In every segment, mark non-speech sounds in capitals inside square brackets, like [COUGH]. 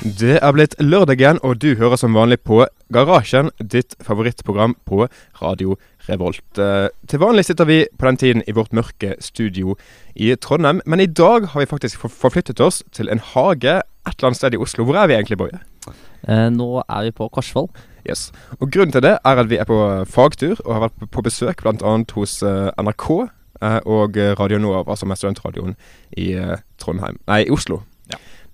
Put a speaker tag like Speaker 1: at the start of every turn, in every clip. Speaker 1: Det er blitt lørdag igjen, og du hører som vanlig på Garasjen, ditt favorittprogram på Radio Revolt. Eh, Til vanlig sitter vi på den tiden i vårt mørke studio i Trondheim, men i dag har vi faktisk for- forflyttet oss til en hage et eller annet sted i Oslo. Hvor er vi egentlig, Boje?
Speaker 2: Eh, nå er vi på Korsvoll.
Speaker 1: Yes. Og grunnen til det er at vi er på fagtur, og har vært på- på besøk bl.a. hos eh, NRK eh, og eh, Radio Nova, som er studentradioen i eh, Trondheim Nei, i Oslo.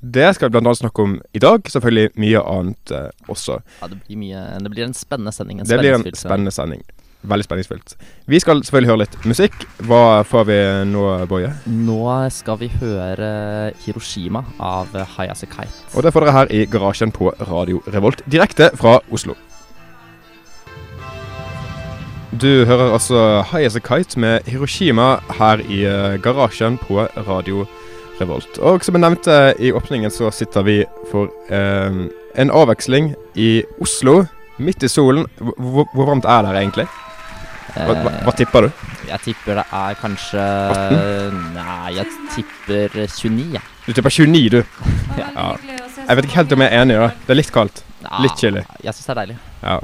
Speaker 1: Det skal vi bl.a. snakke om i dag. Selvfølgelig mye annet eh, også.
Speaker 2: Ja, det, blir mye, det blir en spennende sending. En
Speaker 1: Det blir en
Speaker 2: spenningsfylt
Speaker 1: spennende
Speaker 2: sending.
Speaker 1: sending. Veldig spenningsfylt. Vi skal selvfølgelig høre litt musikk. Hva får vi nå, Boje?
Speaker 2: Nå skal vi høre Hiroshima av eh, Hayase Kite.
Speaker 1: Og det får dere her i garasjen på Radio Revolt, direkte fra Oslo. Du hører altså High As A Kite med Hiroshima her i eh, garasjen på Radio Revolt. Og som jeg nevnte i åpningen, så sitter vi for eh, en avveksling i Oslo. Midt i solen. Hvor, hvor- hvor varmt er det her egentlig? Hva, hva,
Speaker 2: Eh,
Speaker 1: hva tipper du?
Speaker 2: jeg tipper det er kanskje Nei, jeg tipper 29. jeg.
Speaker 1: Du tipper 29, du. Ja.
Speaker 3: Ja.
Speaker 1: Jeg vet ikke helt om jeg er enig, da. Det er litt kaldt.
Speaker 2: Ja,
Speaker 1: Litt chilly.
Speaker 2: Jeg syns det er deilig.
Speaker 1: Ja.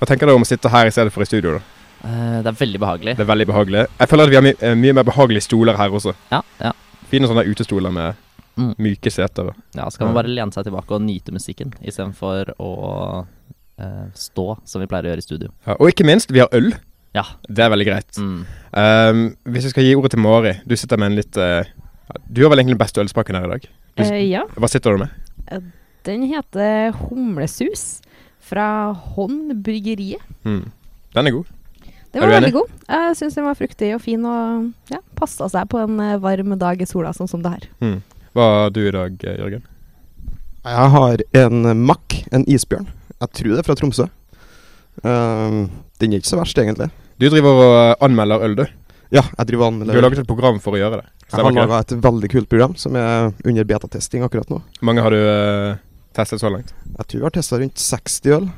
Speaker 1: Hva tenker du om å sitte her i stedet for i studio? da?
Speaker 2: Eh, det er veldig behagelig.
Speaker 1: Det er veldig behagelig. Jeg føler at vi har my eh, mye mer behagelige stoler her også.
Speaker 2: Ja, ja.
Speaker 1: Fine sånne utestoler med
Speaker 2: Mm.
Speaker 1: myke seter.
Speaker 2: ja Så kan man bare lene seg tilbake og nyte musikken istedenfor å eh, stå, som vi pleier å gjøre i studio.
Speaker 1: Ja, og ikke minst, vi har øl.
Speaker 2: Ja.
Speaker 1: Det er veldig greit.
Speaker 2: Mm.
Speaker 1: Um, hvis jeg skal gi ordet til Mari Du sitter med en litt eh, ja, Du har vel egentlig den beste ølspakken her i dag? Du,
Speaker 4: Eh, ja,
Speaker 1: hva sitter du med?
Speaker 4: den heter Humlesus fra Hånd Bryggeriet.
Speaker 1: Mm. Den er god.
Speaker 4: Den
Speaker 1: Er
Speaker 4: var
Speaker 1: du enig?
Speaker 4: veldig god. Jeg syns den var fruktig og fin og ja, passa seg på en eh, varm dag i sola, sånn som det her.
Speaker 1: Hva har du i dag, eh, Jørgen?
Speaker 5: Jeg har en makk, en isbjørn. Jeg tror det er fra Tromsø. Ehm, den er ikke så verst, egentlig.
Speaker 1: Du driver og eh, anmelder øl, du.
Speaker 5: Ja, jeg driver og
Speaker 1: Du har
Speaker 5: anmelder.
Speaker 1: laget et program for å gjøre det.
Speaker 5: Jeg har
Speaker 1: Stemmer ikke det?
Speaker 5: laga et veldig kult program som er under betatesting akkurat nå.
Speaker 1: Hvor mange har du eh, testet så langt?
Speaker 5: Jeg tror jeg har testa rundt 60 øl,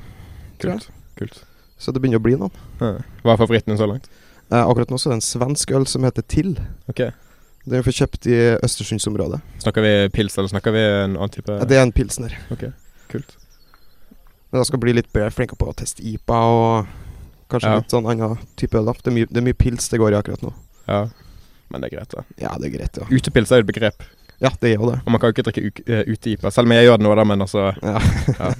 Speaker 5: Tror jeg.
Speaker 1: Kult. Kult.
Speaker 5: så det begynner å bli noen.
Speaker 1: Ja. Hva er favoritten din så langt?
Speaker 5: Eh, akkurat nå så er det en svensk øl som heter Till.
Speaker 1: Ok.
Speaker 5: Den får kjøpt i Østersundsområdet.
Speaker 1: Snakker vi pils, eller snakker vi en annen type
Speaker 5: Ja. Det er en pilsner.
Speaker 1: Ok, kult.
Speaker 5: Men jeg skal bli litt bedre flinkere på å teste IPA og kanskje
Speaker 1: Ja.
Speaker 5: litt sånn annen type øl. da. Det er, mye, det er mye pils det går i akkurat nå.
Speaker 1: Ja. Men det er greit, da.
Speaker 5: Ja, det er greit, ja.
Speaker 1: Utepils er jo et begrep,
Speaker 5: Ja, det er jo det.
Speaker 1: og man kan jo ikke drikke uk- eh, uteipa. Selv om jeg gjør det nå, da, men altså
Speaker 5: Ja.
Speaker 1: Ja.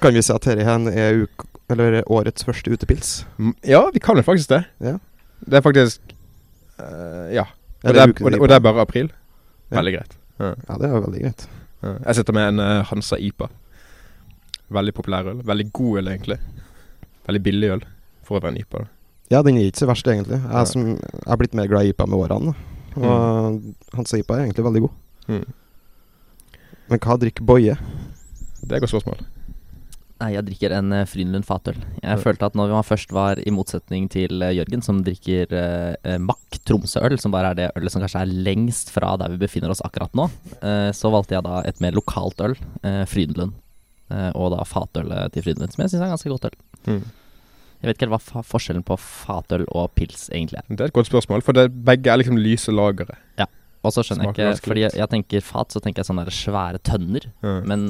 Speaker 5: kan vi si at dette her er uk eller årets første utepils?
Speaker 1: m- Ja, vi kan jo faktisk det.
Speaker 5: Ja.
Speaker 1: Det er faktisk eh, Ja. Og det,
Speaker 5: Eller
Speaker 1: er,
Speaker 5: uken
Speaker 1: og, det-
Speaker 5: IPA.
Speaker 1: og det er bare april.
Speaker 5: Ja.
Speaker 1: Veldig greit.
Speaker 5: Ja, det er veldig greit.
Speaker 1: Ja. Jeg sitter med en eh, Hansa Ipa. Veldig populær øl. Veldig god øl, egentlig. Veldig billig øl for å være en Ipa. Da.
Speaker 5: Ja, den er ikke så verst, egentlig. Jeg,
Speaker 1: Nei.
Speaker 5: er som, jeg er blitt mer glad i IPA med årene. da. Og Hansa IPA er egentlig veldig god.
Speaker 1: Mm.
Speaker 5: Men hva drikker Boje?
Speaker 1: Det er et godt spørsmål.
Speaker 2: Nei, jeg drikker en eh, Frydenlund fatøl. Jeg følte at når man først var i motsetning til eh, Jørgen, som drikker eh, eh, Mack Tromsø-øl, som bare er det ølet som kanskje er lengst fra der vi befinner oss akkurat nå, eh, så valgte jeg da et mer lokalt øl, eh, Frydenlund. Eh, og da fatølet til Frydenlund, som jeg syns er ganske godt øl.
Speaker 1: Mm.
Speaker 2: Jeg vet ikke helt hva fa forskjellen på fatøl og pils egentlig er.
Speaker 1: Det er et godt spørsmål, for det, begge er liksom lyse lagre.
Speaker 2: Og så skjønner
Speaker 1: Smaker
Speaker 2: jeg
Speaker 1: ganske
Speaker 2: ikke, fordi
Speaker 1: likt.
Speaker 2: jeg, jeg tenker fat, så tenker jeg sånne der svære tønner.
Speaker 1: Ja.
Speaker 2: Men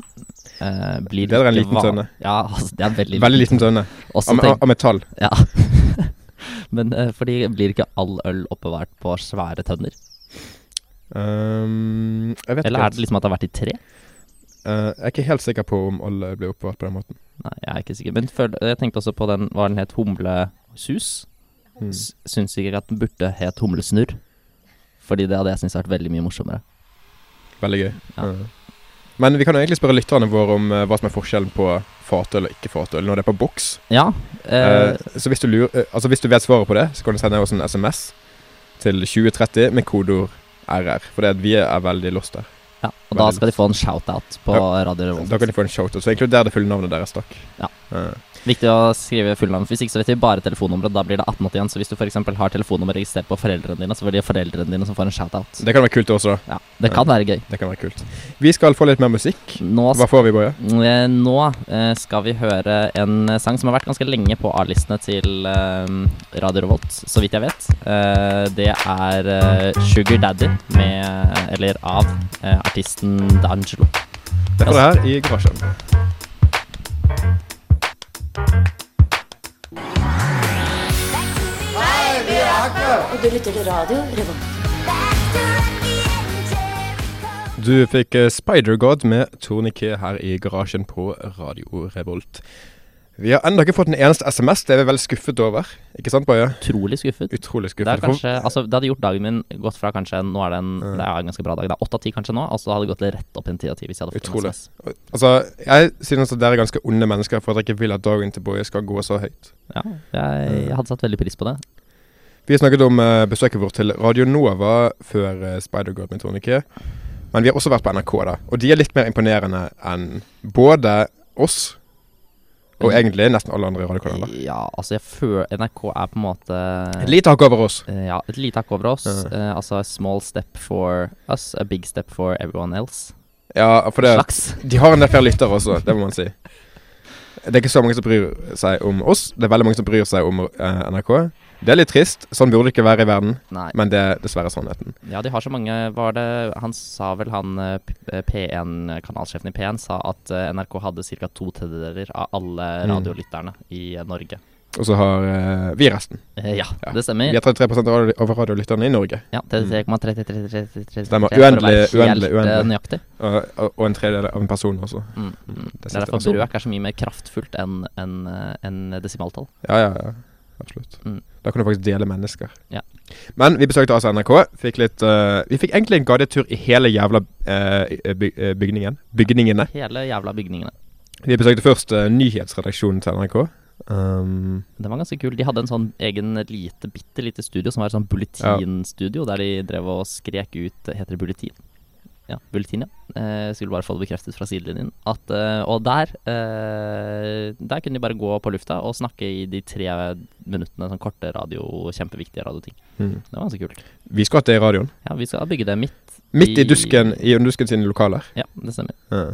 Speaker 2: eh, blir
Speaker 1: Bedre enn
Speaker 2: ikke
Speaker 1: liten
Speaker 2: van-
Speaker 1: tønne.
Speaker 2: Ja, [LAUGHS] altså, det er veldig,
Speaker 1: Veldig liten tønne.
Speaker 2: Også
Speaker 1: Av,
Speaker 2: tenk-
Speaker 1: av, av metall.
Speaker 2: Ja. [LAUGHS] Men eh, fordi blir ikke all øl oppbevart på svære tønner?
Speaker 1: Ehm, jeg vet
Speaker 2: Eller
Speaker 1: ikke
Speaker 2: er det liksom at det har vært i tre?
Speaker 1: Eh, jeg er ikke helt sikker på om alle ble oppbevart på den måten.
Speaker 2: Nei, jeg er ikke sikker. Men føl- jeg tenkte også på den, hva den het, humlesus.
Speaker 1: Mm.
Speaker 2: S- Syns ikke at den burde het humlesnurr. Fordi det hadde jeg syntes vært veldig mye morsommere.
Speaker 1: Veldig gøy.
Speaker 2: Ja.
Speaker 1: Eh. Men vi kan jo egentlig spørre lytterne våre om eh, hva som er forskjellen på fatøl og ikke fatøl når det er på boks.
Speaker 2: Ja. Eh,
Speaker 1: Eh, så hvis du, lurer, eh, altså hvis du vet svaret på det, så kan du sende oss en SMS til 2030 med kodeord RR. For det at vi er veldig lost der.
Speaker 2: ja. Og da
Speaker 1: veldig
Speaker 2: skal de få en shout-out på Radio
Speaker 1: Da kan
Speaker 2: Revolt.
Speaker 1: de få en shoutout. Så inkluder det fulle navnet deres, takk.
Speaker 2: Ja.
Speaker 1: Eh,
Speaker 2: Viktig å skrive fullnavn. Hvis ikke så vet vi bare telefonnummeret. Da blir det 1881. Så hvis du f.eks. har telefonnummer registrert på foreldrene dine, så blir det foreldrene dine som får en shout-out.
Speaker 1: det kan være kult også, da.
Speaker 2: Ja, det kan være gøy.
Speaker 1: Det kan være kult. Vi skal få litt mer musikk.
Speaker 2: Nå
Speaker 1: Hva får vi, Boje?
Speaker 2: Eh, Nå eh, skal vi høre en eh, sang som har vært ganske lenge på A-listene til eh, Radio Revolt, så vidt jeg vet. Eh, Det er eh, Sugar Daddy med, eller av, eh, artisten D'Angelo.
Speaker 1: Det er det her i garasjen.
Speaker 3: Og du lytter til radio Revolt.
Speaker 1: Du fikk eh, Spider-God med Torniké her i garasjen på Radio Revolt. Vi har ennå ikke fått en eneste SMS, det er vi veldig skuffet over. Ikke sant, Boje?
Speaker 2: Utrolig skuffet.
Speaker 1: Utrolig
Speaker 2: Det, er
Speaker 1: skuffet.
Speaker 2: kanskje, altså, det hadde gjort dagen min gått fra kanskje Nå er det en, det er en ganske bra dag. Det er åtte av ti kanskje nå, og så hadde det gått rett opp i en ti av ti hvis jeg hadde fått
Speaker 1: Utrolig.
Speaker 2: en SMS.
Speaker 1: Altså, jeg synes at dere er ganske onde mennesker for at dere ikke vil at dagen til Boje skal gå så høyt.
Speaker 2: Ja, jeg, jeg hadde satt veldig pris på det.
Speaker 1: Vi snakket om eh, besøket vårt til Radio Nova før eh, Spider-God med Torniké. Men vi har også vært på NRK, da. Og de er litt mer imponerende enn både oss og egentlig nesten alle andre radiokanaler.
Speaker 2: Ja, altså jeg føler NRK er på en måte
Speaker 1: Et lite hakk over oss.
Speaker 2: Eh, Ja, et lite hakk over oss.
Speaker 1: Ja.
Speaker 2: Eh, altså a small step for us, a big step for everyone else.
Speaker 1: Ja, for det
Speaker 2: Slags.
Speaker 1: De har en del flere lyttere også, det må man si. Det er ikke så mange som bryr seg om oss. Det er veldig mange som bryr seg om eh, NRK. Det er litt trist. Sånn burde det ikke være i verden,
Speaker 2: Nei.
Speaker 1: men det er dessverre sannheten.
Speaker 2: Ja, de har så mange Var det Han sa vel han eh, P- eh, P1, eh, kanalsjefen i P1, sa at eh, NRK hadde ca. to tredjedeler av alle
Speaker 1: Mm.
Speaker 2: radiolytterne i eh, Norge.
Speaker 1: Og så har eh, vi resten.
Speaker 2: Eh, ja,
Speaker 1: Ja.
Speaker 2: det
Speaker 1: Vi
Speaker 2: stemmer.
Speaker 1: har 33 av radio- av radiolytterne i Norge.
Speaker 2: Ja, 33,3333
Speaker 1: Stemmer.
Speaker 2: for å være
Speaker 1: Uendelig, uendelig,
Speaker 2: helt, eh,
Speaker 1: uendelig.
Speaker 2: Nøyaktig.
Speaker 1: Og, og, og en tredjedel av en person også.
Speaker 2: Mm.
Speaker 1: Mm,
Speaker 2: Det
Speaker 1: siste
Speaker 2: er derfor
Speaker 1: person.
Speaker 2: brøk er så mye mer kraftfullt enn enn, eh, enn desimaltall.
Speaker 1: Ja, ja, ja. Absolutt.
Speaker 2: Mm.
Speaker 1: Da kan du faktisk dele mennesker.
Speaker 2: Ja.
Speaker 1: Men vi besøkte altså NRK. Fikk litt eh, Vi fikk egentlig en guidet tur i hele jævla eh, by, eh, bygningen. Bygningene.
Speaker 2: Hele jævla bygningene.
Speaker 1: Vi besøkte først eh, nyhetsredaksjonen til NRK. Um,
Speaker 2: Den var ganske kul. De hadde en sånn egen lite, bitte lite studio som var et sånn bulletinstudio, der de drev og skrek ut Heter det bulletin? Ja, bulletin, ja. Eh, skulle bare få det bekreftet fra sidelinjen. At, eh, og der eh, Der kunne de bare gå på lufta og snakke i de tre minuttene sånn korte radio, kjempeviktige radioting.
Speaker 1: mm.
Speaker 2: Det var ganske kult.
Speaker 1: Vi skulle hatt det i radioen.
Speaker 2: Ja, vi skal bygge det midt
Speaker 1: Midt i
Speaker 2: I-
Speaker 1: dusken i Dusken sine lokaler.
Speaker 2: Ja, det stemmer.
Speaker 1: Ja.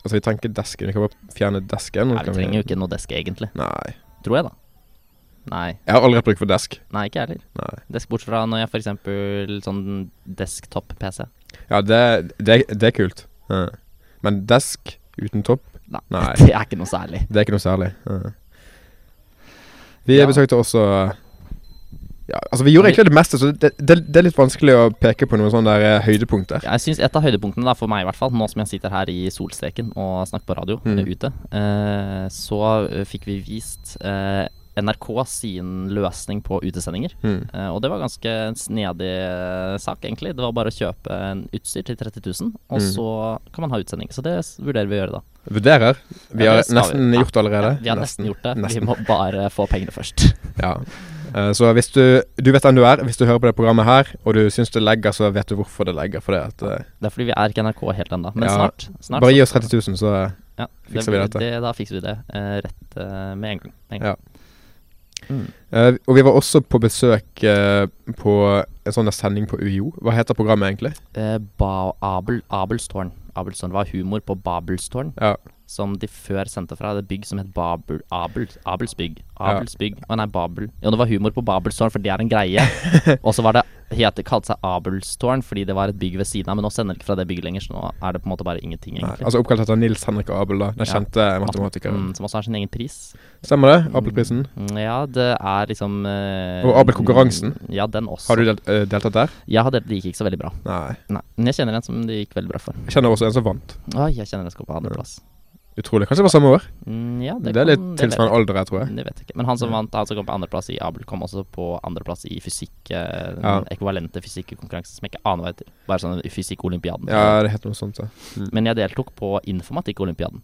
Speaker 1: Altså, vi trenger ikke desken. Vi kan bare fjerne desken. og
Speaker 2: Nei,
Speaker 1: kan
Speaker 2: vi trenger jo ikke noe desk, egentlig.
Speaker 1: Nei.
Speaker 2: Tror jeg, da. Nei.
Speaker 1: Jeg har aldri hatt bruk for desk.
Speaker 2: Nei, ikke jeg heller.
Speaker 1: Nei.
Speaker 2: Desk bort fra når jeg f.eks. sånn desktop-PC.
Speaker 1: Ja, det, det, det er kult. Ja. Men desk uten topp
Speaker 2: Nei.
Speaker 1: Nei.
Speaker 2: Det er ikke noe særlig.
Speaker 1: Det er ikke noe særlig. Ja. Vi
Speaker 2: Ja.
Speaker 1: besøkte også ja, altså Vi gjorde egentlig det meste, så det, det, det er litt vanskelig å peke på noen sånne der eh, høydepunkter.
Speaker 2: Jeg synes Et av høydepunktene da, for meg, i hvert fall nå som jeg sitter her i solstreken og snakker på radio
Speaker 1: Mm.
Speaker 2: eh, ute, eh, så eh, fikk vi vist eh, NRK sin løsning på utesendinger.
Speaker 1: Mm.
Speaker 2: Eh, og det var ganske snedig eh, sak, egentlig. Det var bare å kjøpe en utstyr til 30 000, og
Speaker 1: Mm.
Speaker 2: så kan man ha utsending. Så det s- vurderer vi å gjøre da.
Speaker 1: Vurderer. Vi
Speaker 2: Ja,
Speaker 1: har
Speaker 2: det skal vi.
Speaker 1: nesten
Speaker 2: Ja.
Speaker 1: gjort det allerede.
Speaker 2: Ja, vi har nesten, gjort det.
Speaker 1: Nesten.
Speaker 2: Vi må bare få pengene først.
Speaker 1: Ja. Eh, Så hvis du, du vet hvem du er, hvis du hører på det programmet her, og du syns det legger, så vet du hvorfor det legger. For det at, eh,
Speaker 2: Det er fordi vi er ikke NRK helt ennå, men
Speaker 1: Ja,
Speaker 2: snart. snart
Speaker 1: bare
Speaker 2: så-
Speaker 1: gi oss 30 000, så eh,
Speaker 2: Ja,
Speaker 1: fikser
Speaker 2: det,
Speaker 1: vi dette.
Speaker 2: Det, da fikser vi det eh, rett eh, med en gang. Med en gang. Mm.
Speaker 1: eh, Og vi var også på besøk eh, på en sånn der sending på UiO. Hva heter programmet egentlig?
Speaker 2: Eh, ba Abel, Abelstårn. Abelstårn var humor på Babelstårn,
Speaker 1: Ja.
Speaker 2: som de før sendte fra. Det bygg som het Babel, Abel, Abelsbygg. Abelsbygg. Å nei, Babel. Jo, det var humor på Babelstårn, for det er
Speaker 1: [LAUGHS]
Speaker 2: en greie. Og så var det het, det kalte seg Abelstårn fordi det var et bygg ved siden av, men nå sender de ikke fra det bygget lenger, så nå er det på en måte bare ingenting,
Speaker 1: Nei,
Speaker 2: egentlig.
Speaker 1: altså Oppkalt etter Nils Henrik Abel, da. Den
Speaker 2: Ja.
Speaker 1: kjente matematikeren.
Speaker 2: Mm, som også har sin egen pris.
Speaker 1: Stemmer det? Abelprisen?
Speaker 2: Mm, Ja, det er liksom eh,
Speaker 1: Og Abel-konkurransen?
Speaker 2: Ja, den også.
Speaker 1: Har du delt, eh, deltatt der?
Speaker 2: Ja, det det gikk ikke så veldig bra.
Speaker 1: Nei.
Speaker 2: Nei, Men jeg kjenner en som det gikk veldig bra for.
Speaker 1: Jeg kjenner også en som vant.
Speaker 2: Oi, jeg kjenner en som går på andreplass.
Speaker 1: Utrolig. Kanskje det var samme år?
Speaker 2: Mm, ja,
Speaker 1: Det,
Speaker 2: det,
Speaker 1: er litt
Speaker 2: kan- det vet jeg.
Speaker 1: tilsvarende alder her, tror jeg.
Speaker 2: Det vet jeg ikke. Men han som
Speaker 1: Ja.
Speaker 2: vant, han som kom på andreplass i Abel, kom også på andreplass i fysikk. Eh, den
Speaker 1: Ja.
Speaker 2: Ekvivalente fysikkonkurransen som jeg ikke aner hva heter. Bare sånn fysikkolympiaden.
Speaker 1: Ja, det heter noe sånt. Ja.
Speaker 2: Men jeg deltok på informatikkolympiaden.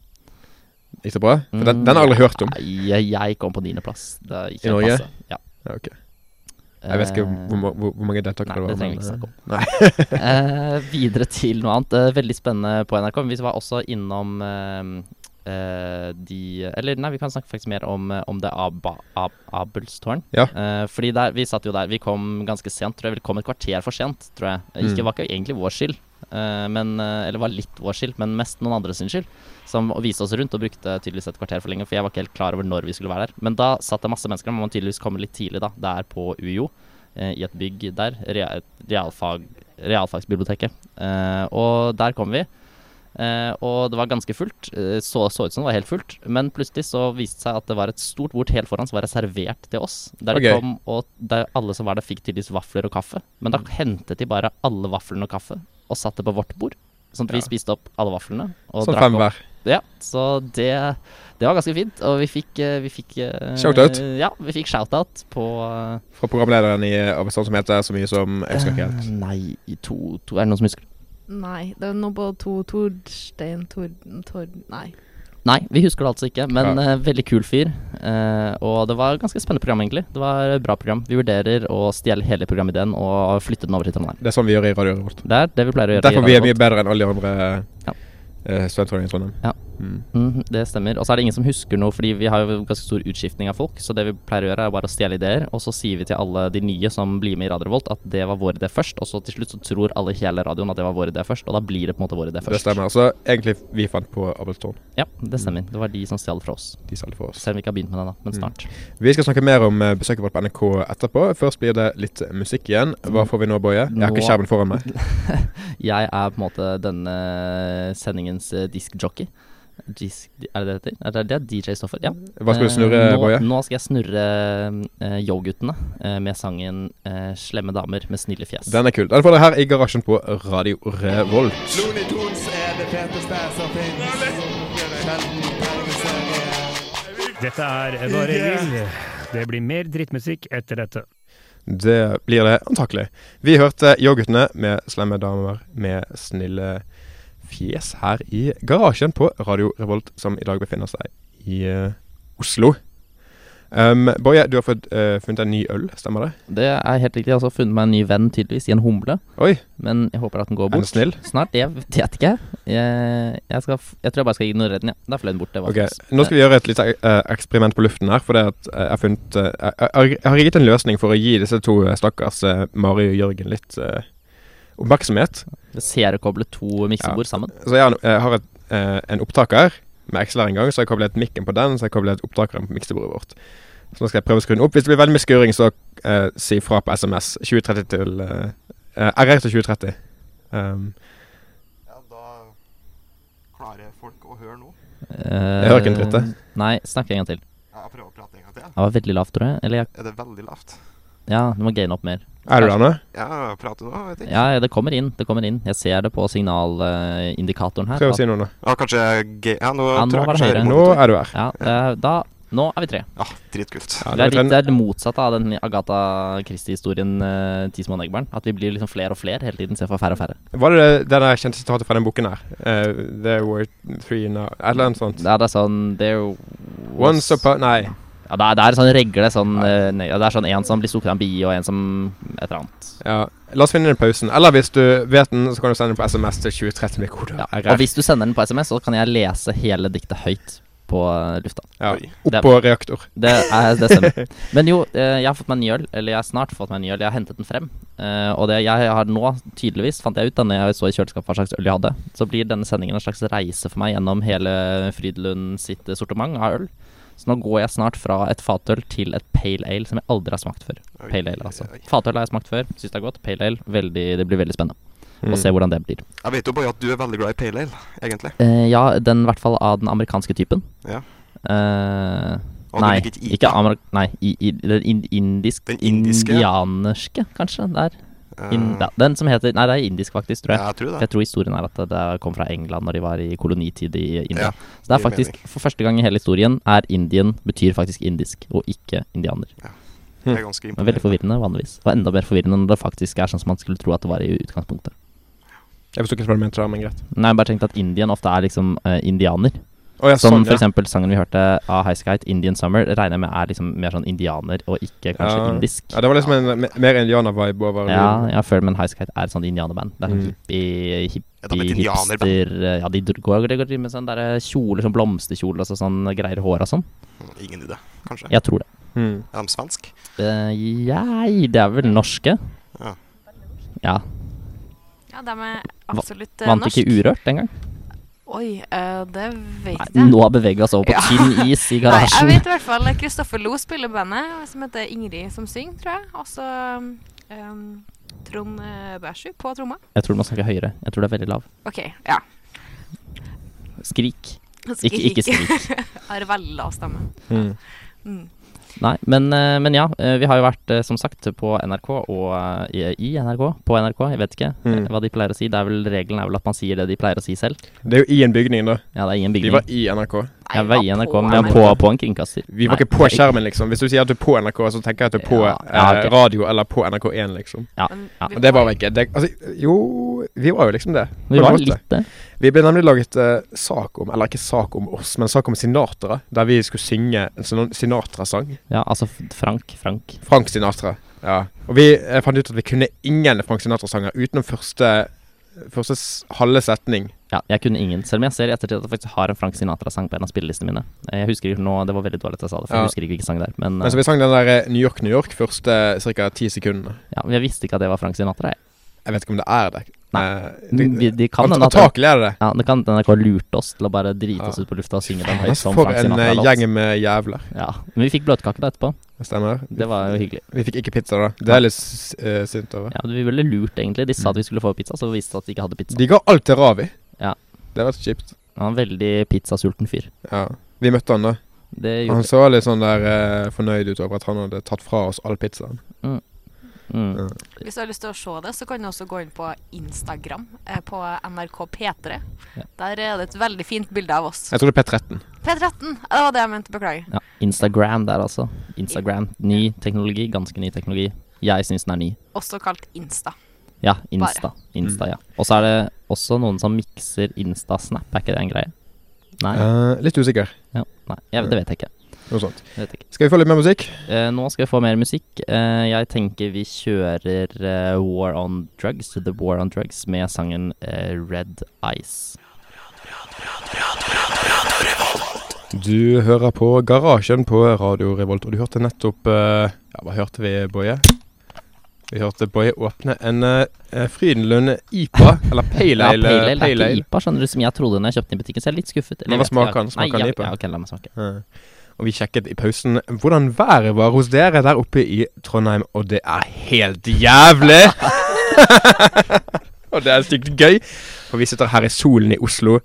Speaker 1: Gikk det bra? For den,
Speaker 2: Mm,
Speaker 1: den har jeg aldri hørt om.
Speaker 2: Nei, jeg, jeg kom på niendeplass. Det gikk
Speaker 1: I
Speaker 2: helt
Speaker 1: Norge?
Speaker 2: passe. Ja. Eh,
Speaker 1: Ja, ok. Jeg vet ikke hvor, ma- hvor, hvor mange deltakere
Speaker 2: Nei,
Speaker 1: det var.
Speaker 2: det trenger vi
Speaker 1: men,
Speaker 2: ikke
Speaker 1: eh,
Speaker 2: snakke om.
Speaker 1: Nei.
Speaker 2: Eh, videre til noe annet. Eh, veldig spennende på NRK. Men vi var også innom eh, eh, de Eller nei, vi kan snakke faktisk mer om, eh, om det Aba, Ab, Abelstårn.
Speaker 1: Ja.
Speaker 2: Eh, fordi der, vi satt jo der. Vi kom ganske sent, tror jeg. Vi kom et kvarter for sent, tror jeg. Eh, Ikke
Speaker 1: Mm.
Speaker 2: var ikke egentlig vår skyld. eh, men, eh, eller var litt vår skyld, men mest noen andre sin skyld. Som viste oss rundt og brukte tydeligvis et kvarter for lenge. For jeg var ikke helt klar over når vi skulle være der. Men da satt det masse mennesker der. Man må tydeligvis komme litt tidlig, da. Det er på UiO, eh, i et bygg der. Rea, realfag, realfagsbiblioteket. Eh, og der kom vi. Eh, og det var ganske fullt. eh, Så, så ut som det var helt fullt. Men plutselig så viste det seg at det var et stort bord helt foran som var reservert til oss. Der de
Speaker 1: Ok.
Speaker 2: kom, og der alle som var der, fikk tydeligvis vafler og kaffe.
Speaker 1: Mm.
Speaker 2: Men da hentet de bare alle vaflene og kaffe og satte på vårt bord. Sånn at vi
Speaker 1: Ja.
Speaker 2: spiste opp alle vaflene. Og
Speaker 1: Sånn
Speaker 2: drakk
Speaker 1: fem
Speaker 2: opp-
Speaker 1: hver.
Speaker 2: Ja, så det, det var ganske fint. Og vi fikk, eh, vi fikk eh,
Speaker 1: Shoutout.
Speaker 2: Ja, vi fikk shoutout på eh,
Speaker 1: Fra programlederen i Arbeidsland som heter så mye som Jeg husker ikke helt.
Speaker 2: eh, Nei, i to, to Er det noen som husker?
Speaker 4: Nei, det er noe på to Torstein Tor... Tor... Nei.
Speaker 2: Nei, vi husker det altså ikke, men
Speaker 1: Ja.
Speaker 2: eh, veldig kul fyr. Eh, og det var et ganske spennende program, egentlig. Det var et bra program. Vi vurderer å stjele hele programideen og flytte den over til Trondheim.
Speaker 1: Det er sånn vi gjør i Radio Revolt.
Speaker 2: Det er det vi pleier å gjøre. i
Speaker 1: Derfor vi er mye
Speaker 2: Radio
Speaker 1: bedre enn alle de andre
Speaker 2: Ja.
Speaker 1: eh, studentrådene i Trondheim.
Speaker 2: Ja.
Speaker 1: Mm.
Speaker 2: Revolt. Mhm, det stemmer. Og så er det ingen som husker noe, fordi vi har jo ganske stor utskiftning av folk. Så det vi pleier å gjøre, er bare å stjele ideer, og så sier vi til alle de nye som blir med i Radio Volt, at det var vår idé først. Og så til slutt så tror alle i hele radioen at det var vår idé først, og da blir det på en måte vår idé først.
Speaker 1: Det stemmer. Så egentlig vi fant på Abelstårn.
Speaker 2: Ja, det stemmer. Det var de som stjal fra oss.
Speaker 1: De selger for oss.
Speaker 2: Selv om vi ikke har begynt med det, da, men
Speaker 1: Mm.
Speaker 2: snart.
Speaker 1: Vi skal snakke mer om eh, besøket vårt på NRK etterpå. Først blir det litt musikk igjen. Hva får vi nå, Boje? Jeg har ikke
Speaker 2: Nå-
Speaker 1: skjermen foran meg.
Speaker 2: Jeg er på en måte denne sendingens eh, diskjockey. Disk, er det det det heter? Er det, det er DJ Stoffer, ja.
Speaker 1: Hva skal du
Speaker 2: Eh,
Speaker 1: snurre,
Speaker 2: nå,
Speaker 1: Boje?
Speaker 2: Nå skal jeg snurre eh, Yo-guttene eh, med sangen eh, 'Slemme damer med snille fjes'.
Speaker 1: Den er kul. Den får dere her i garasjen på Radio Revolt.
Speaker 6: Looney Tunes er det feteste som finnes. Sjelden tegneserie.
Speaker 7: Dette er Bare Vill. Det blir mer drittmusikk etter dette.
Speaker 1: Det blir det antakelig. Vi hørte Yo-guttene med slemme damer med snille fjes her i garasjen på Radio Revolt, som i dag befinner seg i eh, Oslo. Um, Boje, du har fått, eh, funnet en ny øl, stemmer det?
Speaker 2: Det er helt riktig. Jeg har også funnet meg en ny venn, tydeligvis, i en humle.
Speaker 1: Oi,
Speaker 2: Men jeg håper at den
Speaker 1: er
Speaker 2: går
Speaker 1: den
Speaker 2: bort.
Speaker 1: snill?
Speaker 2: Snart. Jeg vet ikke. Jeg, jeg, skal, f- jeg tror jeg bare skal ignorere den, ja. Da fløy den bort. Det var sånn.
Speaker 1: Ok, Nå skal vi gjøre et lite eh, eksperiment på luften her. For det at eh, jeg har funnet eh, jeg, jeg, jeg har rigget en løsning for å gi disse to eh, stakkars eh, Mari og Jørgen litt eh, oppmerksomhet.
Speaker 2: Seriekoble to miksebord sammen.
Speaker 1: Så jeg, har en- jeg har et, eh, en opptaker med XLR-inngang, så jeg har koblet mikken på den, så jeg har koblet opptakeren på miksebordet vårt. Så nå skal jeg prøve å skru den opp. Hvis det blir veldig mye skurring, så eh, si fra på SMS. 2030 til eh, eh, RR til 2030. Um,
Speaker 5: Ja, da klarer folk å høre nå.
Speaker 2: Jeg
Speaker 1: hører ikke en dritt, jeg.
Speaker 2: Eh, Nei, snakk en gang til.
Speaker 5: Jeg prøver å prate en gang til.
Speaker 2: Det var veldig lavt, tror jeg. Eller jeg,
Speaker 5: Er det veldig lavt?
Speaker 2: ja, du må gaine opp mer.
Speaker 1: er du der nå?
Speaker 5: Ja, prater nå, vet
Speaker 2: Ja, ja, det kommer inn. Det kommer inn. Jeg ser det på signalindikatoren her.
Speaker 1: Prøv å
Speaker 2: at-
Speaker 1: si noe nå.
Speaker 5: Ja, kanskje G... Ja, nå
Speaker 2: Ja, nå
Speaker 5: tror
Speaker 2: var det
Speaker 5: jeg kanskje jeg
Speaker 2: høyere.
Speaker 5: hører
Speaker 1: Nå
Speaker 5: på
Speaker 1: er du her.
Speaker 2: Ja, eh, da Nå er vi tre.
Speaker 5: litt. Ja, dritkult.
Speaker 1: Ja,
Speaker 2: Det
Speaker 1: nå
Speaker 2: er, litt,
Speaker 1: den-
Speaker 2: det er det motsatte av den Agatha Christie-historien eh, 'Ti små negrbaren'. At vi blir liksom flere og flere hele tiden, istedenfor færre og færre.
Speaker 1: Var det det det der kjente sitatet fra den boken her? Eh, there were three now Et eller annet sånt.
Speaker 2: Ja, det er sånn There was
Speaker 1: Once upon Nei.
Speaker 2: Ja, det er, det er sånn regle. Sånn, eh, ne- ja, det er sånn en som blir stukket av en bie, og en som et eller annet.
Speaker 1: Ja. La oss finne den i pausen. Eller hvis du vet den, så kan du sende den på SMS til 2030 med kode
Speaker 2: Ja.
Speaker 1: RR.
Speaker 2: Og hvis du sender den på SMS, så kan jeg lese hele diktet høyt på eh, lufta.
Speaker 1: Ja.
Speaker 5: Oi.
Speaker 1: Oppå reaktor.
Speaker 2: Det, er, det stemmer. Men jo, eh, jeg har fått meg en ny øl. Eller jeg har snart fått meg en ny øl. Jeg har hentet den frem. Eh, og det jeg har nå, tydeligvis, fant jeg ut da når jeg så i kjøleskapet hva slags øl jeg hadde. Så blir denne sendingen en slags reise for meg gjennom hele Frydlund sitt eh, sortiment av øl. Så nå går jeg snart fra et fatøl til et pale ale som jeg aldri har smakt før.
Speaker 5: Oi,
Speaker 2: Pale ale, altså.
Speaker 5: oi.
Speaker 2: Fatøl har jeg smakt før, syns det er godt. Pale ale, veldig, det blir veldig spennende å
Speaker 1: Mm.
Speaker 2: se hvordan det blir.
Speaker 5: Jeg vet jo bare at du er veldig glad i pale ale, egentlig.
Speaker 2: Eh, ja, den i hvert fall av den amerikanske typen.
Speaker 5: Ja.
Speaker 2: Eh,
Speaker 5: Og du
Speaker 2: nei,
Speaker 5: liker ikke IPA?
Speaker 2: ikke amerik... Nei, i, i, den ind- indisk...
Speaker 5: Den indiske?
Speaker 2: Indianerske, kanskje? Der. In,
Speaker 5: Eh,
Speaker 2: ja, den som heter Nei, det er indisk, faktisk, tror jeg.
Speaker 5: Ja, jeg tror det.
Speaker 2: Jeg tror historien er at det- det kom fra England når de var i kolonitid i India.
Speaker 5: Ja,
Speaker 2: så det er
Speaker 5: gir
Speaker 2: faktisk, for første gang i hele historien, er Indien betyr faktisk indisk, og ikke indianer.
Speaker 5: Jeg er ganske
Speaker 2: Men veldig
Speaker 5: imponert.
Speaker 2: forvirrende vanligvis. Og enda mer forvirrende når det faktisk er sånn som man skulle tro at det var i utgangspunktet.
Speaker 1: Jeg forsto ikke hva du mente der, men greit.
Speaker 2: Nei, jeg bare tenkte at Indien ofte er liksom eh, indianer.
Speaker 1: Å, ja,
Speaker 2: Som
Speaker 1: sånn,
Speaker 2: for
Speaker 1: ja.
Speaker 2: eksempel sangen vi hørte av Highskite, 'Indian Summer', regner jeg med er liksom mer sånn indianer, og ikke kanskje
Speaker 1: Ja.
Speaker 2: indisk.
Speaker 1: ja, det var liksom en me- mer indianer-vibe over
Speaker 2: Ja, jeg føler men Highskite er et sånt indianerband. Det er sånn
Speaker 1: Mm.
Speaker 2: hippie, hippie,
Speaker 5: Ja, de er et indianerband.
Speaker 2: hipster eh, Ja, de dr- går de går med sånne der kjoler, sånn blomsterkjole og så sånn greier i håret og sånn.
Speaker 5: Ingen idé, kanskje.
Speaker 2: Jeg tror det.
Speaker 1: Mm.
Speaker 5: Er de svensk?
Speaker 2: Eh, jeg, det er vel norske.
Speaker 5: Ja.
Speaker 2: Ja.
Speaker 8: Ja, de er absolutt eh,
Speaker 2: Vant
Speaker 8: norsk.
Speaker 2: ikke Urørt engang?
Speaker 8: Oi, eh, det vet
Speaker 2: Nei,
Speaker 8: jeg.
Speaker 2: nå beveger vi oss over på
Speaker 8: Ja.
Speaker 2: tynn is i
Speaker 8: Nei, jeg
Speaker 2: garasjen.
Speaker 8: vet i hvert fall Kristoffer Lo spiller i bandet, som heter Ingrid som synger, tror jeg. Og så um, Trond eh, Bæsju på tromma.
Speaker 2: Jeg tror du må snakke høyere. Jeg tror det er veldig lav.
Speaker 8: OK, ja.
Speaker 2: Skrik. Ikke, ikke
Speaker 8: [LAUGHS]
Speaker 2: skrik.
Speaker 8: Har veldig lav stemme.
Speaker 1: Mm.
Speaker 8: Mm.
Speaker 2: Nei, men, eh, men ja. eh, Vi har jo vært, eh, som sagt, på NRK og eh, i i NRK. På NRK, jeg vet ikke eh,
Speaker 1: Mm.
Speaker 2: hva de pleier å si. Det er vel, regelen er vel at man sier det de pleier å si selv.
Speaker 1: Det er jo i en bygning, da.
Speaker 2: Ja, det er ingen
Speaker 1: Vi
Speaker 2: bygning.
Speaker 1: var i NRK.
Speaker 2: Ja, vi var i NRK, men vi var
Speaker 8: NRK.
Speaker 2: på, på en kringkaster.
Speaker 1: Vi var
Speaker 2: Nei,
Speaker 1: ikke på skjermen, liksom. Hvis du sier at du er på NRK, så tenker jeg at du er på
Speaker 2: Ja, ja,
Speaker 1: eh,
Speaker 2: ok.
Speaker 1: radio eller på NRK1, liksom.
Speaker 8: Men
Speaker 2: ja.
Speaker 8: vi
Speaker 1: Og det var
Speaker 8: var-
Speaker 1: vi ikke. Det, altså, jo Vi var jo liksom det. på
Speaker 2: Vi
Speaker 1: en
Speaker 2: var
Speaker 1: måte.
Speaker 2: litt eh, det.
Speaker 1: Vi ble nemlig laget eh, sak om, eller ikke sak om oss, men sak om Sinatra. Der vi skulle synge en sånn Sinatra-sang.
Speaker 2: Ja, altså F- Frank, Frank.
Speaker 1: Frank Sinatra. Ja. Og vi eh, fant ut at vi kunne ingen Frank Sinatra-sanger utenom første, første s- halve setning.
Speaker 2: Ja, jeg kunne ingen. Selv om jeg ser i ettertid at jeg faktisk har en Frank Sinatra-sang på en av spillelistene mine. Eh, Jeg husker ikke nå, det var veldig dårlig at jeg sa det, for
Speaker 1: Ja.
Speaker 2: jeg husker ikke hvilken sang det er. Men,
Speaker 1: Men så vi sang den der eh, New York, New York første ca. ti sekundene.
Speaker 2: eh, ja, men jeg visste ikke at det var Frank Sinatra, jeg.
Speaker 1: Jeg vet ikke om det er det.
Speaker 2: Nei.
Speaker 1: Eh,
Speaker 2: De, de kan
Speaker 1: Ant-
Speaker 2: hende at
Speaker 1: Antakelig er det det.
Speaker 2: ja, det kan hende NRK lurte oss til å bare drite oss
Speaker 1: Ja.
Speaker 2: ut på lufta og synge den
Speaker 1: Faen,
Speaker 2: høyt
Speaker 1: ass,
Speaker 2: som
Speaker 1: For
Speaker 2: Frank
Speaker 1: en eh,
Speaker 2: Sinatra-låt.
Speaker 1: gjeng med jævler.
Speaker 2: Ja. Men vi fikk bløtkake da etterpå.
Speaker 1: Det stemmer.
Speaker 2: Det var jo hyggelig.
Speaker 1: Vi fikk ikke pizza, da. Det er litt s- eh, sint over.
Speaker 2: Ja, men Vi ble lurt, egentlig. De sa at vi skulle få pizza, så viste det at de ikke hadde pizza.
Speaker 1: De ga alt til Ravi.
Speaker 2: Ja.
Speaker 1: Det var kjipt.
Speaker 2: Han var en veldig pizzasulten fyr.
Speaker 1: Ja. Vi møtte han da.
Speaker 2: Det
Speaker 1: Han
Speaker 2: gjorde
Speaker 1: så litt sånn der eh, fornøyd ut over at han hadde tatt fra oss all pizzaen.
Speaker 2: mm.
Speaker 8: Hvis du har lyst til å se det, så kan du også gå inn på Instagram eh, på NRK P3.
Speaker 2: Ja.
Speaker 8: Der er det et veldig fint bilde av oss.
Speaker 1: Jeg tror det er P13.
Speaker 8: P13! Ja, Det var det jeg mente, beklager.
Speaker 2: Ja, Instagram der, altså. Instagram. Ny teknologi. Ganske ny teknologi. Jeg syns den er ny.
Speaker 8: Også kalt Insta.
Speaker 2: Ja, Insta. Insta, ja. Og så er det også noen som mikser Insta-snap. Er ikke det en greie? Nei.
Speaker 1: Eh, litt usikker.
Speaker 2: Ja. Nei jeg, det vet jeg ikke.
Speaker 1: Noe sånt.
Speaker 2: Det Vet jeg ikke.
Speaker 1: Skal vi få litt mer musikk?
Speaker 2: Eh, nå skal vi få mer musikk. Eh, jeg tenker vi kjører eh, War on Drugs, The War on Drugs, med sangen eh, Red Ice.
Speaker 1: Du hører på Garasjen på Radio Revolt, og du hørte nettopp eh, Ja, hva hørte vi, Boje? Vi hørte Boje åpne en uh, Frydenlund IPA, eller eh, Pale Ale.
Speaker 2: ja, pale ale. Det
Speaker 1: pale
Speaker 2: er
Speaker 1: ale.
Speaker 2: ikke IPA, skjønner du, som jeg trodde når jeg kjøpte den i butikken, så jeg er litt skuffet.
Speaker 1: Men hva
Speaker 2: jeg vet ikke, jeg-
Speaker 1: smaker den? Smaker
Speaker 2: Nei,
Speaker 1: den
Speaker 2: ja,
Speaker 1: IPA?
Speaker 2: Ja, ok, la meg smake.
Speaker 1: Eh, Og vi sjekket i pausen hvordan været var hos dere der oppe i Trondheim, og det er helt jævlig! [LAUGHS] og det er stygt gøy, for vi sitter her i solen i Oslo,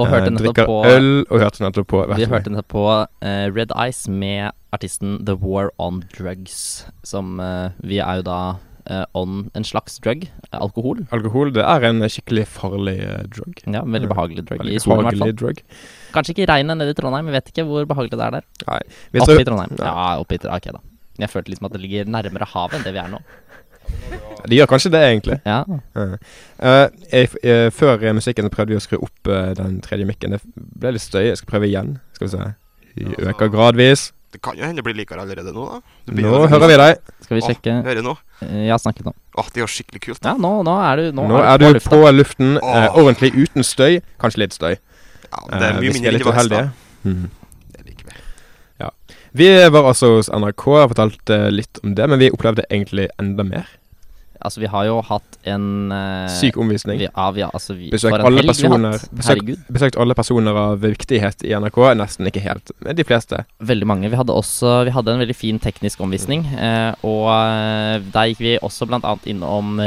Speaker 2: Og
Speaker 1: eh,
Speaker 2: hørte nettopp
Speaker 1: drikker
Speaker 2: på
Speaker 1: øl og hørte nettopp på
Speaker 2: Vi hørte den på eh, Red Eyes med artisten The War on Drugs. Som eh, Vi er jo da eh, on en slags drug. eh, Alkohol.
Speaker 1: Alkohol det er en skikkelig farlig eh, drug.
Speaker 2: Ja, Veldig
Speaker 1: Ja,
Speaker 2: behagelig drug.
Speaker 1: Veldig
Speaker 2: I solen, i hvert
Speaker 1: behagelig
Speaker 2: fall.
Speaker 1: drug.
Speaker 2: Kanskje ikke i regnet nede i Trondheim. Jeg vet ikke hvor behagelig det er der.
Speaker 1: Vi
Speaker 2: Oppe i
Speaker 1: tror,
Speaker 2: Trondheim.
Speaker 1: Ja.
Speaker 2: Ja, oppe i Trondheim. Ok, da. Jeg følte liksom at det ligger nærmere havet enn det vi er nå.
Speaker 1: de gjør kanskje det, egentlig.
Speaker 2: Ja,
Speaker 1: Eh, jeg, f- eh, før eh, musikken så prøvde vi å skru opp eh, den tredje mikken. Det f- ble litt støy. Jeg skal prøve igjen. Skal vi se. Vi
Speaker 5: Ja,
Speaker 1: øker
Speaker 5: så-
Speaker 1: gradvis.
Speaker 5: Det kan jo hende det blir likere allerede nå, da. Det blir
Speaker 1: Nå
Speaker 5: jo-
Speaker 1: hører vi deg.
Speaker 2: Skal vi
Speaker 5: Åh,
Speaker 2: sjekke
Speaker 5: hører jeg nå?
Speaker 2: Eh, Jeg har snakket nå.
Speaker 5: Åh, det er jo skikkelig kult.
Speaker 2: Ja, nå, nå er du
Speaker 1: Nå er du på luften eh,
Speaker 5: Åh.
Speaker 1: ordentlig uten støy. Kanskje litt støy.
Speaker 5: Ja, men det er
Speaker 1: eh,
Speaker 5: mye
Speaker 1: hvis vi
Speaker 5: mindre
Speaker 1: er
Speaker 5: enn
Speaker 1: litt
Speaker 5: det var i stad.
Speaker 1: uheldige. Mhm.
Speaker 5: Det er likevel.
Speaker 1: Vi var altså hos NRK og fortalte eh, litt om det, men vi opplevde egentlig enda mer.
Speaker 2: Altså, vi har jo hatt en eh,
Speaker 1: Syk omvisning.
Speaker 2: vi, ja, vi, har- altså, vi,
Speaker 1: Besøk
Speaker 2: for en
Speaker 1: alle
Speaker 2: helg vi har
Speaker 1: personer.
Speaker 2: hatt.
Speaker 1: Besøk-
Speaker 2: Herregud.
Speaker 1: Besøkt alle personer av viktighet i NRK. Nesten ikke helt, men de fleste.
Speaker 2: Veldig mange. Vi hadde også Vi hadde en veldig fin teknisk omvisning. Eh, og eh, der gikk vi også bl.a. innom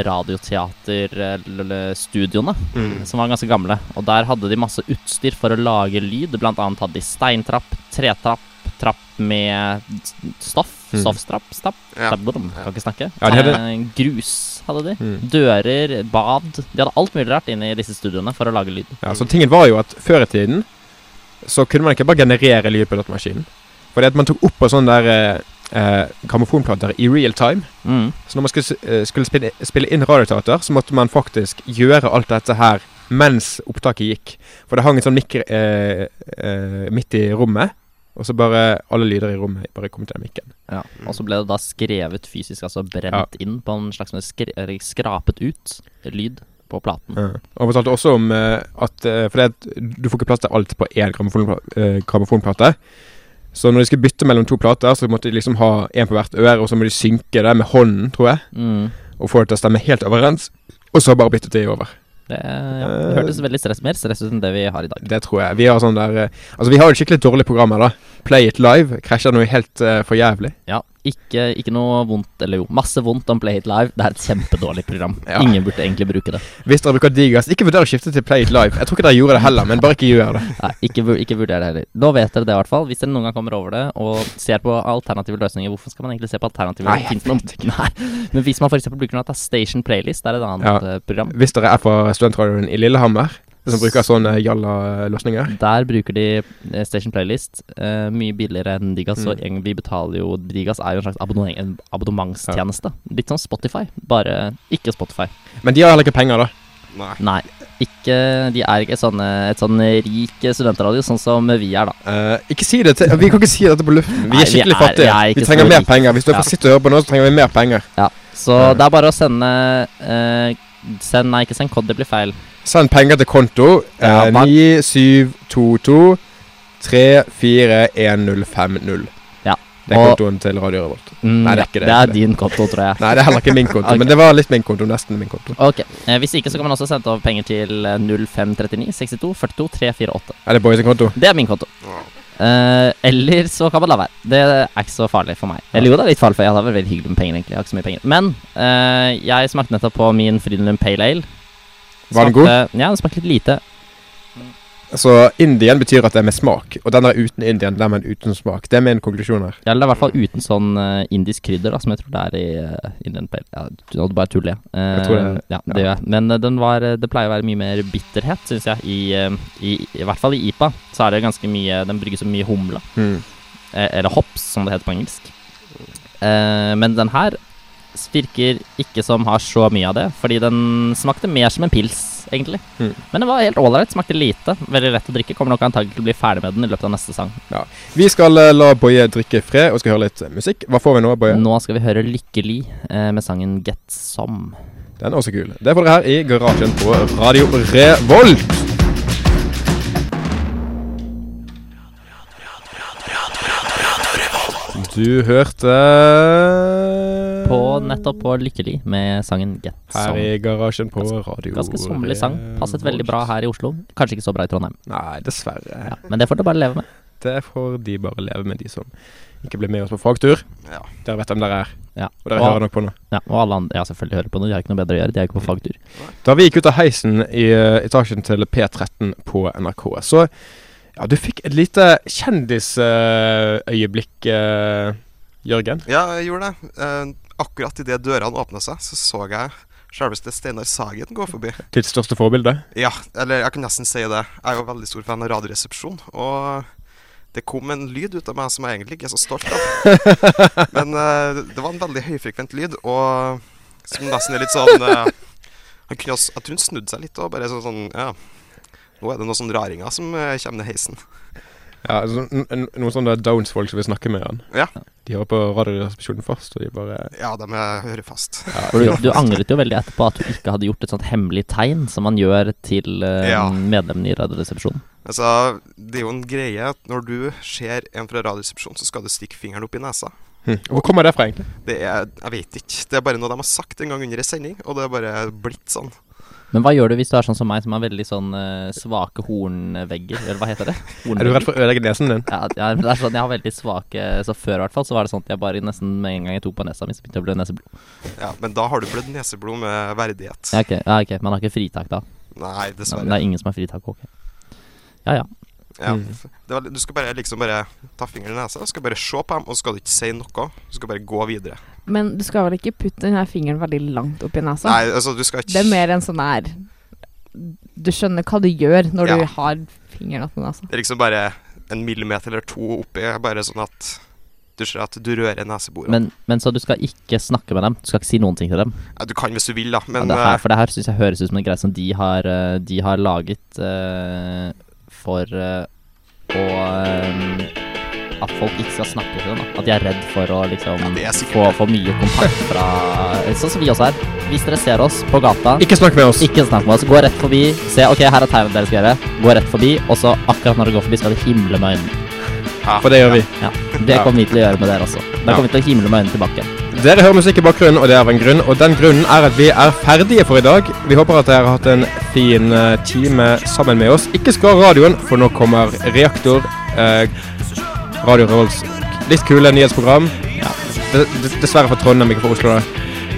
Speaker 2: radioteaterstudioene,
Speaker 5: Mm.
Speaker 2: som var ganske gamle. Og der hadde de masse utstyr for å lage lyd. Blant annet hadde de steintrapp, tretrapp, trapp med s- stoff.
Speaker 1: Mm.
Speaker 2: Stoffstrapp. Stapp.
Speaker 5: Ja.
Speaker 2: stapp brum, kan ikke snakke.
Speaker 1: Ja, de hadde-
Speaker 2: Eh, grus hadde de.
Speaker 1: Mm.
Speaker 2: Dører, bad. De hadde alt mulig rart inne i disse studioene for å lage lyd.
Speaker 1: Ja, så tingen var jo at før i tiden så kunne man ikke bare generere lyd på datamaskinen. Fordi at man tok opp på sånne der eh, eh, grammofonplater i real time.
Speaker 2: Mm.
Speaker 1: Så når man skulle, s- eh, skulle spille, spille inn radioteater, så måtte man faktisk gjøre alt dette her mens opptaket gikk. For det hang en sånn mikro eh, eh, midt i rommet, og så bare alle lyder i rommet bare kom til den mikken.
Speaker 2: Ja, og så ble det da skrevet fysisk, altså brent
Speaker 1: Ja.
Speaker 2: inn på en slags skre eller skrapet ut lyd på platen.
Speaker 1: Ja. Og han fortalte også om eh, at eh, Fordi at du får ikke plass til alt på én grammofonpla- eh, grammofonplate. Så når de skulle bytte mellom to plater, så måtte de liksom ha én på hvert øre, og så må de synke det med hånden, tror jeg,
Speaker 2: Mm.
Speaker 1: og få det til å stemme helt overens. Og så bare byttet de over.
Speaker 2: Det, ja, det hørtes
Speaker 1: Eh.
Speaker 2: veldig stress, mer stress ut enn det vi har i dag.
Speaker 1: Det tror jeg. Vi har sånn der eh, Altså, vi har jo et skikkelig dårlig program her, da. Play it live krasjer noe helt eh, for jævlig.
Speaker 2: Ikke, ikke noe vondt, eller jo, masse vondt om Play It Live. Det er et kjempedårlig program.
Speaker 1: [LAUGHS] Ja.
Speaker 2: Ingen burde egentlig bruke det.
Speaker 1: Hvis dere bruker Digas, ikke vurder å skifte til Play It Live. Jeg tror ikke dere gjorde det heller, men bare ikke gjør det.
Speaker 2: Nei, ikke, vur- ikke vurder det heller. Nå vet dere det, i hvert fall. Hvis dere noen gang kommer over det og ser på alternative løsninger, hvorfor skal man egentlig se på alternative
Speaker 1: Nei, jeg
Speaker 2: Finnes det noen- Nei. Men hvis man f.eks. bruker noe av Station Playlist, det er et annet
Speaker 1: Ja.
Speaker 2: eh, program.
Speaker 1: Hvis dere er fra studentradioen i Lillehammer, som bruker sånne eh, jalla-løsninger
Speaker 2: Der bruker de eh, Station Playlist eh, mye billigere enn Digas.
Speaker 1: Mm.
Speaker 2: Så egentlig vi betaler jo Digas er jo en slags abonnement, en abonnementstjeneste. Litt som Spotify, bare ikke Spotify.
Speaker 1: Men de har heller ikke penger, da.
Speaker 2: Nei. Ikke, de er ikke sånne, et sånn rik studentradio, sånn som vi er, da.
Speaker 1: Eh, ikke si det til Vi kan ikke si dette på luften. Vi
Speaker 2: Nei,
Speaker 1: er skikkelig
Speaker 2: vi er-
Speaker 1: fattige.
Speaker 2: vi er
Speaker 1: Vi,
Speaker 2: ikke
Speaker 1: trenger
Speaker 2: så
Speaker 1: mer
Speaker 2: rike.
Speaker 1: penger. Hvis du
Speaker 2: Ja.
Speaker 1: sitter og hører på nå, så trenger vi mer penger.
Speaker 2: Ja. Så
Speaker 1: Ja.
Speaker 2: det er bare å sende eh, Send, nei, ikke send kod, det blir feil.
Speaker 1: Send penger til konto
Speaker 2: Ja,
Speaker 1: eh,
Speaker 2: hva-
Speaker 1: 9722 341050.
Speaker 2: Ja,
Speaker 1: Det er
Speaker 2: og-
Speaker 1: kontoen til Radio Revolt.
Speaker 2: Mm,
Speaker 1: Nei, det er
Speaker 2: ja,
Speaker 1: ikke det,
Speaker 2: Det
Speaker 1: ikke
Speaker 2: er
Speaker 1: det.
Speaker 2: din konto, tror jeg.
Speaker 1: Nei, det er heller ikke min konto,
Speaker 2: [LAUGHS] Ok.
Speaker 1: men det var litt min konto. Nesten min konto.
Speaker 2: Ok, eh, Hvis ikke så kan man også sende over penger til eh, 0539 62 42 348.
Speaker 1: Er det Boys' konto?
Speaker 2: Det er min konto. Eh, eller så kan man la være. Det er ikke så farlig for meg. Eller jo, det er litt farlig, for jeg hadde vært veldig hyggelig med penger, egentlig. Jeg har ikke så mye penger. Men eh, jeg smakte nettopp på min Frydenlund Pale Ale.
Speaker 1: Var den
Speaker 2: Smakte- Ja, den smakte litt lite.
Speaker 1: Så Indian betyr at det er med smak, og den der uten Indian, den er uten smak. Det er min konklusjon her.
Speaker 2: Ja, Eller i hvert fall uten sånn eh, indisk krydder, da, som jeg tror det er i uh, Indian Pale. Ja, du- nå bare tuller jeg. Eh,
Speaker 1: Jeg tror det-
Speaker 2: ja, det gjør jeg. Men eh, den var, eh, det pleier å være mye mer bitterhet, syns jeg. I, eh, i, I hvert fall i IPA så er det ganske mye Den brygges så mye humle.
Speaker 1: Hmm.
Speaker 2: eh, Eller hops, som det heter på engelsk. Eh, men den her s- virker ikke som har så mye av det, fordi den smakte mer som en pils, egentlig.
Speaker 1: Mm.
Speaker 2: Men den var helt ålreit, smakte lite. Veldig lett å drikke. Kommer nok antagelig til å bli ferdig med den i løpet av neste sang.
Speaker 1: Vi skal eh, la Boje drikke i fred og skal høre litt musikk. Hva får vi nå, Boje?
Speaker 2: Nå skal vi høre Lykkelig eh, med sangen Get Some.
Speaker 1: Den er også kul. Det får dere her i garasjen på Radio Revolt. Du hørte
Speaker 2: På nettopp på Lykkelig med sangen Get
Speaker 1: Her i
Speaker 2: Some.
Speaker 1: garasjen på Radio
Speaker 2: Ganske sommerlig sang. Passet veldig bra her i Oslo. Kanskje ikke så bra i Trondheim,
Speaker 1: Nei, dessverre.
Speaker 2: ja. men det får du bare leve med.
Speaker 1: Det får de bare leve med, de som ikke ble med oss på fagtur. Dere vet hvem dere er,
Speaker 2: Ja.
Speaker 1: og dere hører nok på nå.
Speaker 2: ja, og alle andre Ja, selvfølgelig hører på noe. De har ikke noe bedre å gjøre. De er jo ikke på fagtur.
Speaker 1: Da vi gikk ut av heisen i eh, etasjen til P13 på NRK, så ja, du fikk et lite kjendisøyeblikk, eh, Jørgen.
Speaker 5: Ja, jeg gjorde det. Eh, akkurat idet dørene åpna seg, så så jeg selveste Steinar Sagen gå forbi.
Speaker 1: Ditt største forbilde.
Speaker 5: Ja, eller jeg kan nesten si det. Jeg er jo veldig stor fan av Radioresepsjon. Og det kom en lyd ut av meg som jeg egentlig ikke er så stolt av. [LAUGHS] Men eh, det var en veldig høyfrekvent lyd, og som nesten er litt sånn eh, han kunne også, Jeg tror han snudde seg litt og bare sånn, sånn Ja, nå er det noen sånne raringer som eh, kommer ned heisen.
Speaker 1: Ja, altså, n- n- Noen sånne Downs-folk som vil snakke med han.
Speaker 5: Ja.
Speaker 1: De hører på Radioresepsjonen først, og de bare
Speaker 5: Ja, de eh, hører fast.
Speaker 2: For du, du angret jo veldig etterpå at du ikke hadde gjort et sånt hemmelig tegn som man gjør til eh,
Speaker 5: Ja.
Speaker 2: medlemmene i Radioresepsjonen.
Speaker 5: [LAUGHS] Altså, det er jo en greie at når du ser en fra Radioresepsjonen, så skal du stikke fingeren opp i nesa.
Speaker 1: hm. Hvor kommer det fra, egentlig?
Speaker 5: Det er Jeg vet ikke. Det er bare noe de har sagt en gang under en sending, og det er bare blitt sånn.
Speaker 2: Men hva gjør du hvis du er sånn som meg, som har veldig sånn eh, svake hornvegger, eller hva heter det?
Speaker 1: [LAUGHS] Er du redd for å ødelegge nesen din?
Speaker 2: Ja, ja, men det er sånn, jeg har veldig svake Så før i hvert fall så var det sånn at jeg bare nesten med en gang jeg tok på nesa mi, så begynte jeg å blø neseblod.
Speaker 5: Ja, men da har du blødd neseblod med verdighet.
Speaker 2: Ja, ok, ja, ok, Man har ikke fritak da.
Speaker 5: Nei,
Speaker 2: Nei,
Speaker 5: dessverre.
Speaker 2: men det er ingen som har fritak. ok Ja ja.
Speaker 5: Ja.
Speaker 1: Hm.
Speaker 5: Det var, du skal bare liksom bare ta fingeren i nesa, du skal bare se på dem, og så skal du ikke si noe. Du skal bare gå videre.
Speaker 4: Men du skal vel ikke putte den her fingeren veldig langt opp i
Speaker 8: Sånn.
Speaker 4: nesa?
Speaker 5: Nei, altså, du skal ikke
Speaker 4: Det er mer en sånn her Du skjønner hva du gjør når
Speaker 5: Ja.
Speaker 4: du har fingeren opp i nesa.
Speaker 5: Det er liksom bare en millimeter eller to oppi, bare sånn at du ser at du rører neseborene.
Speaker 2: Men, men så du skal ikke snakke med dem? Du skal ikke si noen ting til dem?
Speaker 5: Ja, du kan hvis du vil, da, men
Speaker 2: ja, det her,
Speaker 5: eh,
Speaker 2: for det her syns jeg høres ut som en greie som de har, eh, de har laget eh, for eh, å eh, At folk ikke skal snakke til dem. Da. At de er redd for å liksom
Speaker 5: Ja, det er sikkert
Speaker 2: få
Speaker 5: det.
Speaker 2: for mye kontakt fra Sånn som vi også er. Hvis dere ser oss på gata
Speaker 1: Ikke snakk med oss!
Speaker 2: ikke snakk med oss. Gå rett forbi. Se, ok, her er tegnet dere skal gjøre. Gå rett forbi, og så akkurat når dere går forbi, skal dere himle med øynene.
Speaker 1: For det gjør vi.
Speaker 2: Ja, Det kommer vi til å gjøre med dere også. Da
Speaker 1: Ja.
Speaker 2: kommer vi til å himle med øynene tilbake.
Speaker 1: Dere hører musikk i bakgrunnen, og det er av en grunn. Og den grunnen er at vi er ferdige for i dag. Vi håper at dere har hatt en fin eh, time sammen med oss. Ikke skar radioen, for nå kommer Reaktor. Eh, Radio Revolts litt kule nyhetsprogram. dess- dessverre for Trondheim, ikke for Oslo. da.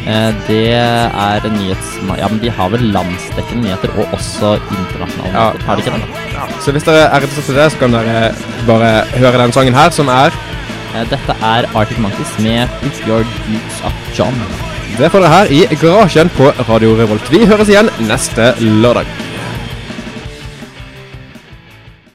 Speaker 2: Eh, Det er nyhets... Ja, men de har vel landsdekkende nyheter, og også internasjonale
Speaker 1: Ja.
Speaker 2: nyheter. Har de ikke det?
Speaker 1: Så hvis dere er interessert i det, så kan dere bare høre den sangen her, som er
Speaker 2: Eh, Dette er Arctic Monkeys med Put Your Dukes Up John.
Speaker 1: Det får dere her i garasjen på Radio Revolt. Vi høres igjen neste lørdag.